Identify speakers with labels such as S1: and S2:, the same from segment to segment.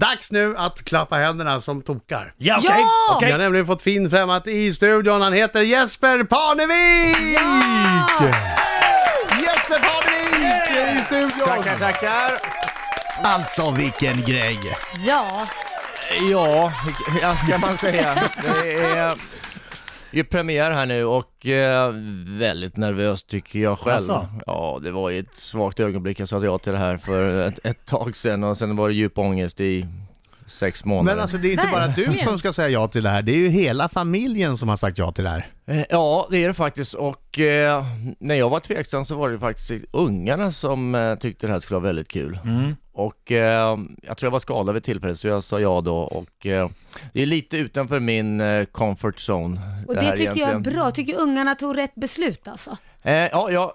S1: Dags nu att klappa händerna som tokar.
S2: Ja, okej.
S3: okej, Ja!
S1: Vi
S2: okej.
S1: har nämligen fått fin främmat i studion. Han heter Jesper Parnevik!
S3: Ja!
S1: Jesper Parnevik är i studion!
S4: Tackar, tackar! Alltså vilken grej!
S3: Ja,
S4: Ja, ja, kan man säga. Det är ju premiär här nu och eh, väldigt nervös tycker jag själv.
S2: Jaså?
S4: Ja, det var ju ett svagt ögonblick jag sa ja till det här för ett, ett tag sedan och sen var det djup ångest i sex månader.
S1: Men alltså det är inte bara du
S3: Verkligen.
S1: som ska säga ja till det här, det är ju hela familjen som har sagt ja till det här.
S4: Eh, Ja, det är det faktiskt och eh, när jag var tveksam så var det faktiskt ungarna som eh, tyckte det här skulle vara väldigt kul. Och eh, jag tror jag var skadad vid tillfället så jag sa ja då och eh, det är lite utanför min eh, comfort zone.
S3: och det,
S4: här
S3: tycker jag är
S4: egentligen.
S3: bra. Jag tycker ungarna tog rätt beslut alltså.
S4: Eh, ja, jag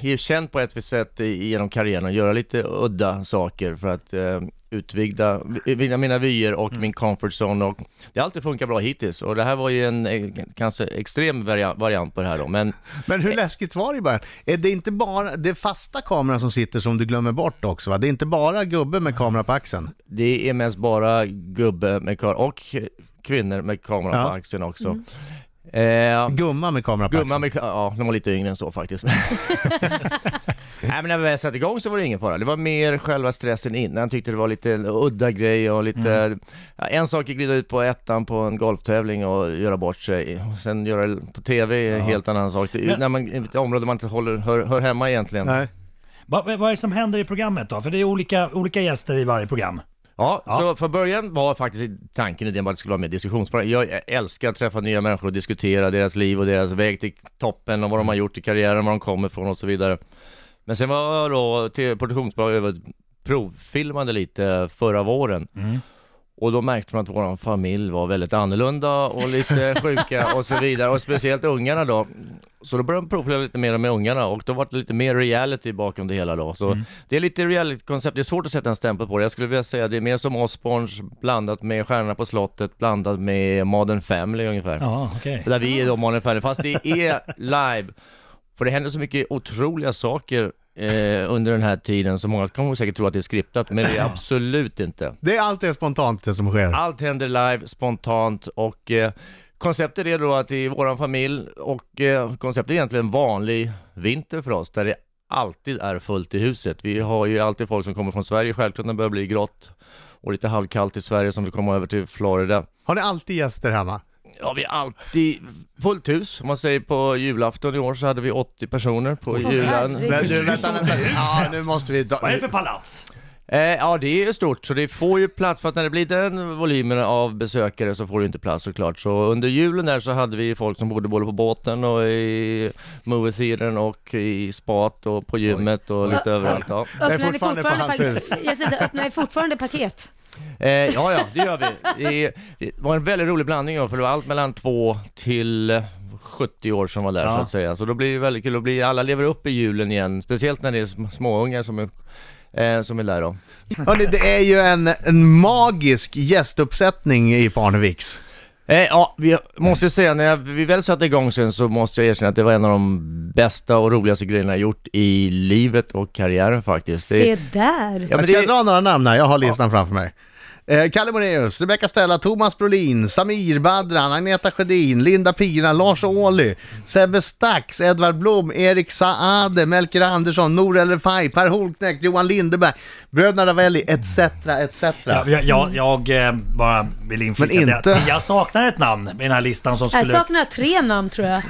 S4: är ju känd på ett visst sätt i- genom karriären att göra lite udda saker för att eh, utvidga vidga mina vyer och min comfort zone och det har alltid funkat bra hittills och det här var ju en eh, kanske extrem varia- variant på det här då men
S1: Men hur läskigt var det i början? Är det inte bara det är fasta kameran som sitter som du glömmer bort också va? Det är inte bara gubben med kamera på axeln?
S4: Det är mest bara gubbe med kamera och kvinnor med kamera
S1: Ja.
S4: på axeln också. Eh,
S1: Gumma med kamera på
S4: Gumman
S1: axeln?
S4: med, ja, de var lite yngre än så faktiskt. Nej men när vi väl satte igång så var det ingen fara. Det var mer själva stressen innan. Tyckte det var lite udda grej och lite...
S1: Mm.
S4: Ja, en sak är att glida ut på ettan på en golftävling och göra bort sig. Och Sen göra det på TV är en helt annan sak. Det är, ju- när man, i ett område man inte håller, hör, hör hemma egentligen.
S1: Nej.
S2: Vad, vad är det som händer i programmet då? För det är olika, olika gäster i varje program.
S4: Ja,
S2: Ja.
S4: så från början var faktiskt tanken idén bara att det skulle vara mer diskussionsprogram. Jag älskar att träffa nya människor och diskutera deras liv och deras väg till toppen och vad de har gjort i karriären, var de kommer ifrån och så vidare. Men sen var då till produktionsbolag över provfilmade lite förra våren. Och då märkte man att vår familj var väldigt annorlunda och lite sjuka och så vidare. Och speciellt ungarna då. Så då började de provfilma lite mer med ungarna och då var det lite mer reality bakom det hela då. Så det är lite reality-koncept, det är svårt att sätta en stämpel på det. Jag skulle vilja säga att det är mer som Osborns blandat med Stjärnorna på slottet blandat med Modern Family ungefär.
S2: Ja, okej.
S4: Där vi är då Modern Family, fast det är live. För det händer så mycket otroliga saker eh, under den här tiden så många kommer säkert tro att det är skriptat, men det är absolut inte.
S1: Det är alltid spontant det som sker.
S4: Allt händer live, spontant och eh, konceptet är då att i våran familj och eh, konceptet är egentligen en vanlig vinter för oss där det alltid är fullt i huset. Vi har ju alltid folk som kommer från Sverige självklart när det börjar bli grått och lite halvkallt i Sverige som vill komma över till Florida.
S1: Har ni alltid gäster hemma?
S4: Ja, vi har alltid fullt hus. Om man säger på julafton i år så hade vi 80 personer på julen.
S3: herregud.
S1: Men du, vänta, vänta. Ja, nu måste vi...
S2: Vad är det för palats?
S4: Eh, ja, det är stort, så det får ju plats för att när det blir den volymen av besökare så får du inte plats såklart. Så under julen där så hade vi folk som bodde både på båten och i movietheatern och i spat och på gymmet och lite
S3: Oj.
S4: överallt. Ja.
S1: Jag är
S3: Öppnar ni
S1: fortfarande
S3: fortfarande,
S1: på hans hus.
S3: paket? Jag säger så här, öppnar ni fortfarande paket?
S4: Eh, ja, ja, det gör vi. Det, det var en väldigt rolig blandning, ja, för det var allt mellan 2 till eh, 70 år som var där
S2: Ja.
S4: så att säga. Så då blir det väldigt kul, då blir alla lever upp i julen igen, speciellt när det är sm- småungar som är, eh, som är där då.
S1: Hörrni, det är ju en, en magisk gästuppsättning i Parneviks.
S4: Eh, ja, vi måste säga, när jag, vi väl satte igång sen så måste jag erkänna att det var en av de bästa och roligaste grejerna jag gjort i livet och karriären faktiskt. Det,
S3: Se där!
S4: Ja,
S1: Jag
S4: men
S1: ska
S4: det,
S1: dra några namn här, jag har listan framför mig. Eh, Kalle Moraeus, Rebecca Stella, Thomas Brolin, Samir Badran, Agneta Sjödin, Linda Pina, Lars Ohly, Sebbe Stax, Edvard Blom, Erik Saade, Melker Andersson, Nour El Refai, Per Holknekt, Johan Lindeberg, Bröderna Ravelli, etc. etc.
S2: Ja, jag, jag, jag eh, bara vill inflika
S1: Men
S2: det
S1: inte-
S2: att jag saknar ett namn i den här listan som
S3: Jag
S2: skulle...
S3: saknar tre namn tror jag.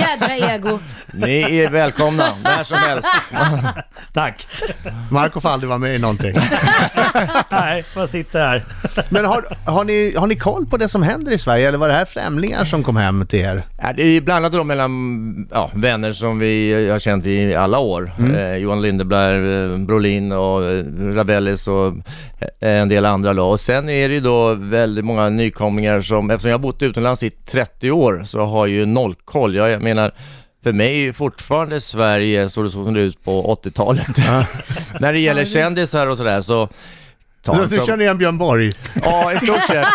S3: Jädra ego.
S4: ni är välkomna, när som helst.
S2: Tack!
S1: Marco får aldrig vara med i någonting.
S2: Nej, vad sitter här.
S1: Men har, har, ni, har ni koll på det som händer i Sverige, eller var det här främlingar som kom hem till er?
S4: Ja, det är ju blandat då mellan ja, vänner som vi eh, har känt i alla år. Eh, Johan Lindeberg, eh, Brolin och eh, Ravellis och eh, en del andra då. Och sen är det ju då väldigt många nykomlingar som, eftersom jag har bott utomlands i 30 år så har jag ju noll koll. Jag, jag menar, för mig är fortfarande Sverige så det såg som det ut på 80-talet. När det gäller kändisar och sådär så ta en
S1: Du
S4: som-
S1: känner igen Björn Borg?
S4: Ja, i stort sett.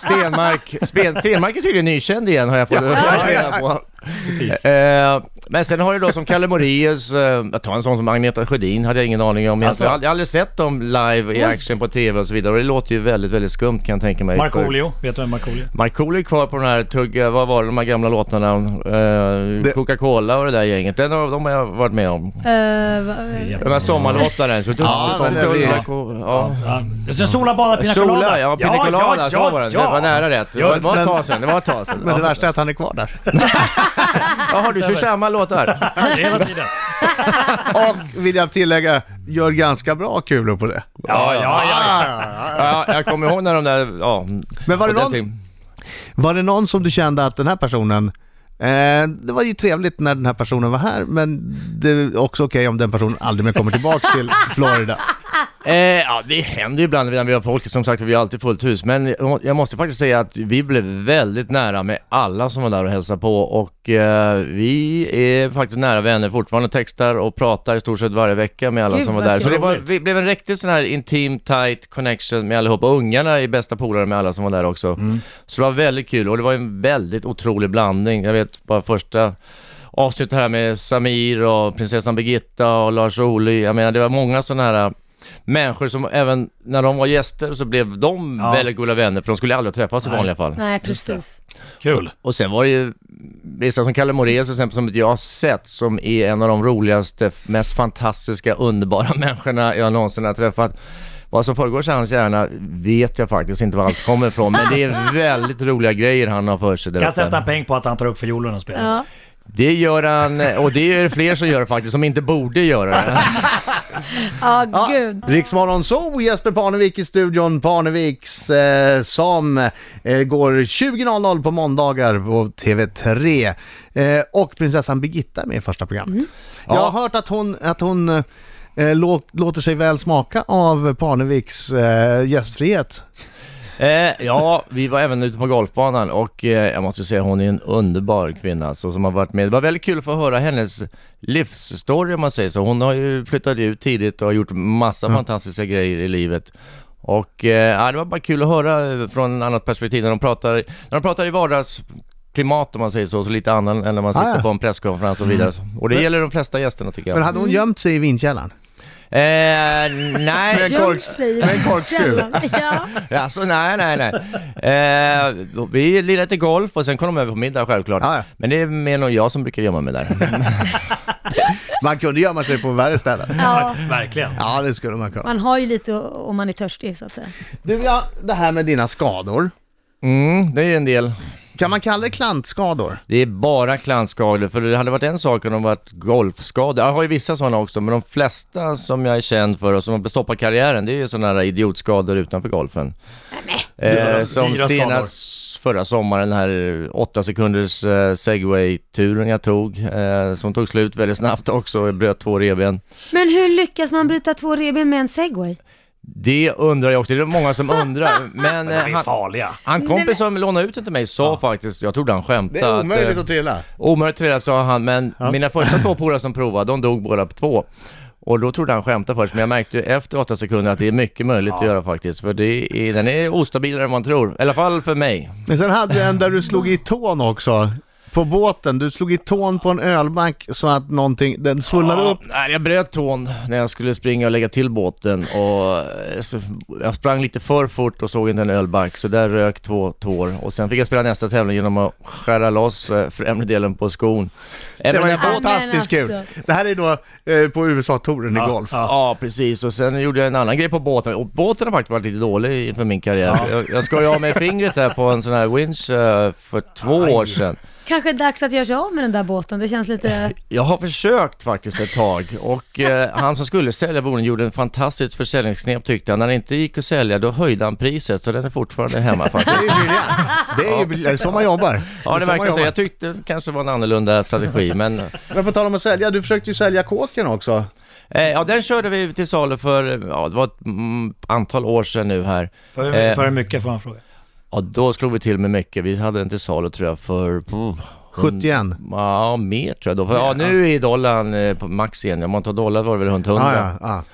S4: Stenmark. Spen, Stenmark är tydligen nykänd igen har jag fått reda på.
S2: Precis.
S4: Eh, men sen har du då som Kalle Moraeus, eh, jag tar en sån som Agneta Sjödin, hade jag ingen aning om.
S2: Alltså.
S4: Jag har aldrig- aldrig sett dem live i action på tv och så vidare och det låter ju väldigt, väldigt skumt kan jag tänka mig.
S2: Markoolio, vet du vem Markoolio är?
S4: Markoolio är kvar på den här tugga, vad var det, de här gamla låtarna? Eh,
S1: Det-
S4: Coca-Cola och det där gänget, den har, de har jag varit med om.
S3: Eh, va-
S4: De här sommarlåtarna. Så
S1: Ja, men det blir-
S4: ja.
S2: Ja. Ja. Sola badar pina
S4: Sola,
S2: colada.
S4: ja, Pina Colada, så var den. Det var nära rätt. Det var, det var ett tag sedan, det var ett tag sedan.
S1: Men det värsta är att han är kvar där.
S4: Jaha, du kör samma låtar?
S2: Hela tiden.
S1: Och vill jag tillägga, gör ganska bra kulor på det.
S4: Ja, ja, ja.
S1: Ah.
S4: ja. Jag kommer ihåg när de där, ja.
S1: Men var det
S4: på den
S1: någon-
S4: tiden.
S1: Var det någon som du kände att den här personen, eh, det var ju trevligt när den här personen var här, men det är också okej om den personen aldrig mer kommer tillbaks till Florida.
S4: Eh, ja, det händer ju ibland när vi har folk, som sagt vi har alltid fullt hus. Men jag må- jag måste faktiskt säga att vi blev väldigt nära med alla som var där och hälsade på och eh, vi är faktiskt nära vänner fortfarande, textar och pratar i stort sett varje vecka med alla
S3: Gud,
S4: som var
S3: vad
S4: där. Så
S3: kul.
S4: det var, vi blev en riktigt sån här intim, tight connection med allihopa. Och Ungarna är bästa polare med alla som var där också. Så det var väldigt kul och det var en väldigt otrolig blandning. Jag vet bara första avsnittet här med Samir och prinsessan Birgitta och Lars Ohly. Jag menar det var många sådana här äh, människor som även när de var gäster så blev de
S2: Ja.
S4: väldigt goda vänner för de skulle aldrig träffas i
S2: Nej.
S4: vanliga fall.
S3: Nej, precis.
S2: Kul.
S4: Och sen var det ju vissa som Kalle Moraeus till exempel som jag har sett som är en av de roligaste, mest fantastiska, underbara människorna jag någonsin har träffat. Vad som förgår i hans hjärna vet jag faktiskt inte var allt kommer ifrån men det är väldigt roliga grejer han har för sig där
S2: Kan jag
S4: uppe.
S2: sätta en peng på att han tar upp fiolen och spelar.
S3: Ja.
S4: Det gör han, och det är fler som gör faktiskt, som inte borde göra det.
S3: Ja,
S1: Ja,
S3: gud.
S1: Riksmorgon Zoo, Jesper Parnevik i studion, Parneviks eh, som eh, går 20.00 på måndagar på TV3. Eh, och prinsessan Birgitta är med i första programmet. Jag har
S4: Ja.
S1: hört att hon, att hon eh, lå- låter sig väl smaka av Parneviks eh, gästfrihet.
S4: Eh, ja, vi var även ute på golfbanan och eh, jag måste säga hon är en underbar kvinna så, som har varit med. Det var väldigt kul att få höra hennes livsstory om man säger så. Hon har ju flyttat ut tidigt och har gjort massa fantastiska grejer i livet. Och eh, ja, det var bara kul att höra eh, från ett annat perspektiv när de pratar, när de pratar i vardagsklimat om man säger så, så lite annan än när man
S1: Ah,
S4: sitter
S1: ja. Mm.
S4: på en presskonferens och vidare. Och det
S1: Men-
S4: gäller de flesta gästerna tycker jag.
S1: Men hade hon gömt sig i vinkällaren?
S4: Eh, nej,
S1: en korks-
S3: Gömt sig i
S1: med en korkskruv.
S3: källan. Ja.
S4: Alltså nej, nej, nej. Eh, vi lirade lite golf och sen kom de över på middag självklart.
S1: Ja, ja.
S4: Men det är mer nog jag som brukar gömma mig där.
S1: Man kunde gömma sig på värre ställen.
S3: ja.
S2: Verkligen.
S1: Ja, det skulle man kunna.
S3: Man har ju lite o- om man är törstig så att säga.
S1: Du, ja, det här med dina skador.
S4: Mm, det är en del.
S1: Kan man kalla det klantskador?
S4: Det är bara klantskador, för det hade varit en sak om de varit golfskador. Jag har ju vissa sådana också, men de flesta som jag är känd för och som har stoppat karriären, det är ju sådana här idiotskador utanför golfen.
S2: Dyra-
S4: Eh, som
S2: dyra skador.
S4: senast förra sommaren, den här åtta sekunders eh, segway-turen jag tog, eh, som tog slut väldigt snabbt också, jag bröt två revben.
S3: Men hur lyckas man bryta två revben med en segway?
S4: Det undrar jag också, det är många som undrar. Men eh,
S2: De är
S4: han,
S2: farliga.
S4: han kompis som lånade ut den till mig sa faktiskt, jag trodde han skämtade. att, eh,
S1: trilla.
S4: Omöjligt att reda, sa han, men mina första två polare som provade, de dog båda på två. Och då trodde han skämtade först, men jag märkte ju efter åtta sekunder att det är mycket möjligt att göra faktiskt. För det är, den är ostabilare än man tror, i alla fall för mig.
S1: Men sen hade du en där du slog i tån också. På båten, du slog i tån på en ölbank så att någonting, den svullnade upp.
S4: Nej, jag bröt tån när jag skulle springa och lägga till båten och eh, så- jag sprang lite för fort och såg inte en ölback så där rök två tår och sen fick jag spela nästa tävling genom att skära loss eh, främre delen på skon.
S1: Det
S4: Även
S1: var ju
S4: när jag-
S3: fan-
S1: fantastiskt
S3: Ja, men
S1: kul.
S3: alltså.
S1: Det här är då eh, på USA-touren i
S2: Ja,
S1: golf.
S2: ja.
S4: Ja precis och sen gjorde jag en annan grej på båten och båten har faktiskt varit lite dålig för min karriär. Jag, jag skar ju av mig fingret här på en sån här winch eh, för två
S2: Aj.
S4: år sedan.
S3: Kanske dags att göra sig av med den där båten, det känns lite...
S4: Jag har försökt faktiskt ett tag och eh, han som skulle sälja boden gjorde en fantastisk försäljningsknep tyckte han. När det inte gick att sälja då höjde han priset så den är fortfarande hemma
S1: Det
S4: faktiskt.
S1: är ju briljant. Det är ju briljant. så man jobbar.
S4: Ja det
S1: så man
S4: verkar så.
S1: jobbar.
S4: Jag tyckte det kanske var en annorlunda strategi men
S1: Men på tal om att sälja, du försökte ju sälja kåken också.
S4: eh, ja den körde vi till salu för, ja det var ett mm, antal år sedan nu här.
S2: För, hur-
S4: Eh.
S2: för hur mycket får han fråga?
S4: Ja då slog vi till med mycket. Vi hade den till salu tror jag för mm,
S1: 71.
S4: Ja, mer tror jag då. För, ja, nu är dollarn eh, på max igen. Om man tar dollar var det väl runt 100.
S1: Ja, ja,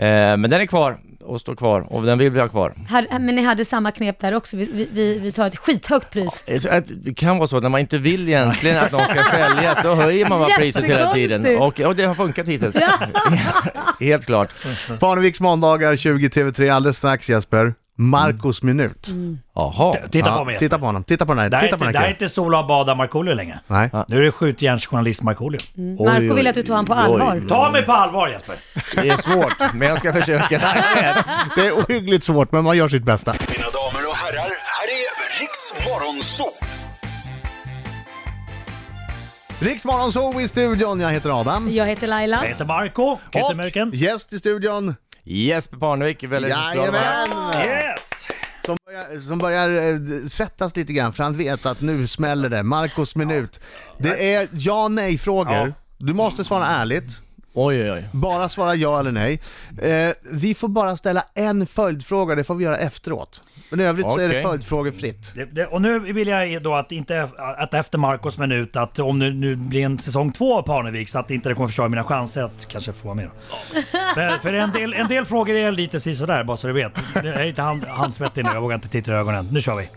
S1: ja.
S4: Eh, men den är kvar. och står kvar och den vill vi ha kvar.
S3: Hade- äh, Men ni hade samma knep där också. Vi, vi, vi, vi tar ett skithögt pris.
S4: Eh, så att- Det kan vara så att när man inte vill egentligen att någon ska säljas, då höjer man bara priset hela tiden. Och,
S3: Jättekonstigt.
S4: och det har funkat hittills. Helt klart.
S1: Parneviks måndagar 20 TV3 alldeles strax Jesper. Marcos minut.
S4: Jaha.
S2: Titta på
S1: Ja,
S2: mig Jesper.
S1: titta på honom, titta på den
S2: Det
S1: här,
S2: här är
S1: titta på
S2: inte,
S1: den
S2: det här är
S1: här
S2: inte Sola och Bada Markoolio längre.
S1: Nej.
S2: Nu är det skjutjärnsjournalist Markoolio.
S3: Marco vill att du tar honom på
S4: oj,
S3: allvar.
S4: oj.
S2: Ta mig på allvar Jesper!
S4: Det är svårt, men jag ska försöka.
S1: Det är ohyggligt svårt men man gör sitt bästa.
S5: Mina damer och herrar, här är Riks Morgonzoo!
S1: Riksmorgon så i studion, jag heter Adam.
S3: Jag heter Laila.
S4: Äh,
S2: Jag heter Marco, Kettemörken.
S1: Och gäst i studion,
S4: Jesper Parnevik är väldigt glad att vara här.
S1: jajamän!
S2: Yes!
S1: Som börjar, som börjar eh, d- svettas lite grann för han vet att nu smäller det. Marcos minut. Det är ja nej frågor.
S2: Ja.
S1: Du måste svara ärligt.
S4: Oj, oj, oj.
S1: Bara svara ja eller nej. Eh, vi får bara ställa en följdfråga, det får vi göra efteråt. Men i övrigt så är det
S4: Okej.
S1: följdfrågor fritt.
S2: Det, det, och nu vill jag då att inte att efter Marcos minut, att om nu, nu blir en säsong två av Parnevik så att inte det kommer förstöra mina chanser att kanske få vara med. då. Men, för en del, en del frågor är lite sådär bara så du vet. Jag är inte hand, handsvettig nu, jag vågar inte titta i ögonen. Nu kör vi.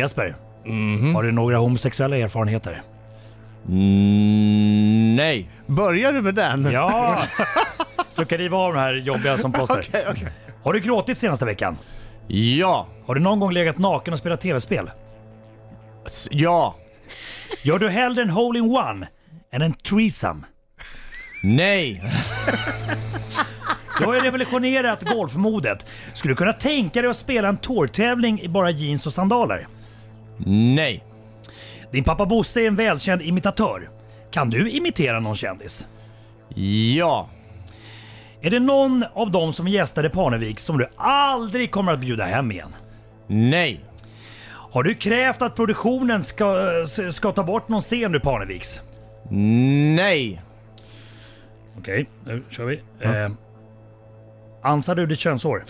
S2: Jesper,
S1: Mhm.
S2: har du några homosexuella erfarenheter?
S4: Mm, nej.
S1: Börjar du med den?
S2: Ja! Så kan riva av de här jobbiga som plåster.
S1: Okej, okej.
S2: Har du gråtit senaste veckan?
S4: Ja.
S2: Har du någon gång legat naken och spelat tv-spel?
S4: S- Ja.
S2: Gör du hellre en hole-in-one än en threesome?
S4: Nej.
S2: Du har ju revolutionerat golfmodet. Skulle du kunna tänka dig att spela en tourtävling i bara jeans och sandaler?
S4: Nej.
S2: Din pappa Bosse är en välkänd imitatör. Kan du imitera någon kändis?
S4: Ja.
S2: Är det någon av dem som gästade Parnevik som du aldrig kommer att bjuda hem igen?
S4: Nej.
S2: Har du krävt att produktionen ska, eh, ska ta bort någon scen ur Parneviks?
S4: Nej.
S2: Okej, nu kör vi. Eh, ansar du ditt könshår?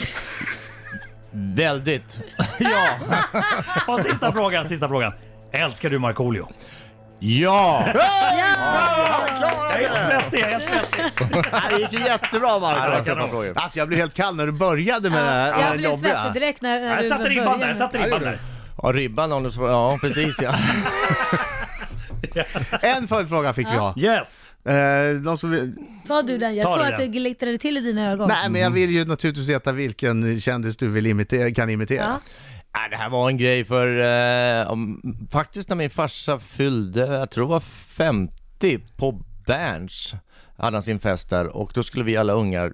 S4: Väldigt. Ja.
S2: Och sista frågan, sista frågan. Älskar du Markoolio?
S4: Ja.
S2: Jag är helt svettig, jag är helt svettig.
S1: Det gick ju jättebra
S4: Ja, det var
S1: Marco.
S4: tuffa frågor.
S1: Alltså jag blev helt kall när du började med det
S4: äh,
S1: här med
S3: Jag
S1: det
S3: blev svettig direkt när, när
S2: Jag
S3: du
S2: satte ribban
S3: började
S2: där, jag
S3: med-
S2: satte ribban där.
S4: Ja, ribban om du så... Ja, precis ja.
S1: En följdfråga fick vi ha.
S2: Yes!
S1: Eh, någon som vill...
S3: Ta du den, jag
S2: Ta
S3: såg
S2: du
S3: att det
S2: den.
S3: glittrade till i dina ögon.
S1: Nej men jag vill ju naturligtvis veta vilken kändis du vill imitera, kan imitera.
S3: Ja. Alltså,
S4: Nej, det här var en grej för... Eh, om, faktiskt när min farsa fyllde, jag tror det var 50, på Berns hade han sin fest där och då skulle vi alla ungar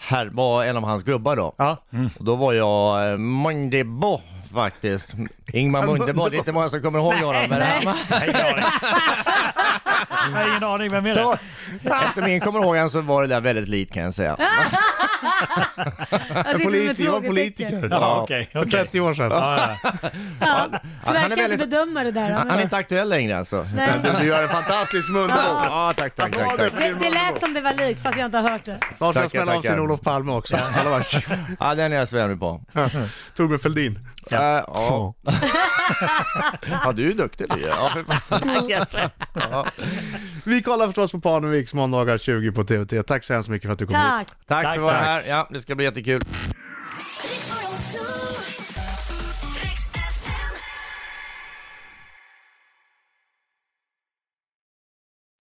S4: här var en av hans gubbar då.
S1: Ja.
S4: Och då var jag eh, Mundebo faktiskt. Ingmar Mundebo, det är inte många som kommer ihåg honom. Men han var-
S2: Nej, jag har ingen aning. Jag har ingen aning, vem är det?
S4: så, eftersom ingen kommer ihåg honom så var det där väldigt likt kan jag säga.
S3: Jag sitter som ett
S1: Politiker, jag var
S3: frågetecken.
S1: politiker.
S2: Ja, okej.
S1: För
S2: okej.
S1: 30 år sedan.
S2: Ja, ja.
S3: Ja. Tyvärr
S4: Han
S3: kan
S4: är
S3: jag inte
S4: väldigt-
S3: bedöma det där.
S4: Han är inte aktuell längre alltså.
S3: Nej.
S1: Du gör en fantastisk Mundebo.
S4: Ja, tack, tack, tack. tack.
S3: Det, det lät som det var likt fast jag inte har hört det.
S1: Snart ska jag
S4: Tackar,
S1: smälla av
S4: tackar.
S1: sin Olof Palme också. Alla var
S4: Ja, den är jag svärig på.
S1: Torbjörn Fälldin.
S4: Ja. ja. ja, du är duktig du. Ja, för fan. Yes. ja.
S1: Vi kollar förstås på Parneviks måndagar 20 på TV3. Tack så hemskt mycket för att du kom hit.
S3: Tack!
S4: Tack för att vara
S2: tack.
S4: här. Ja, det ska bli jättekul.
S6: Riks Morgonzoo.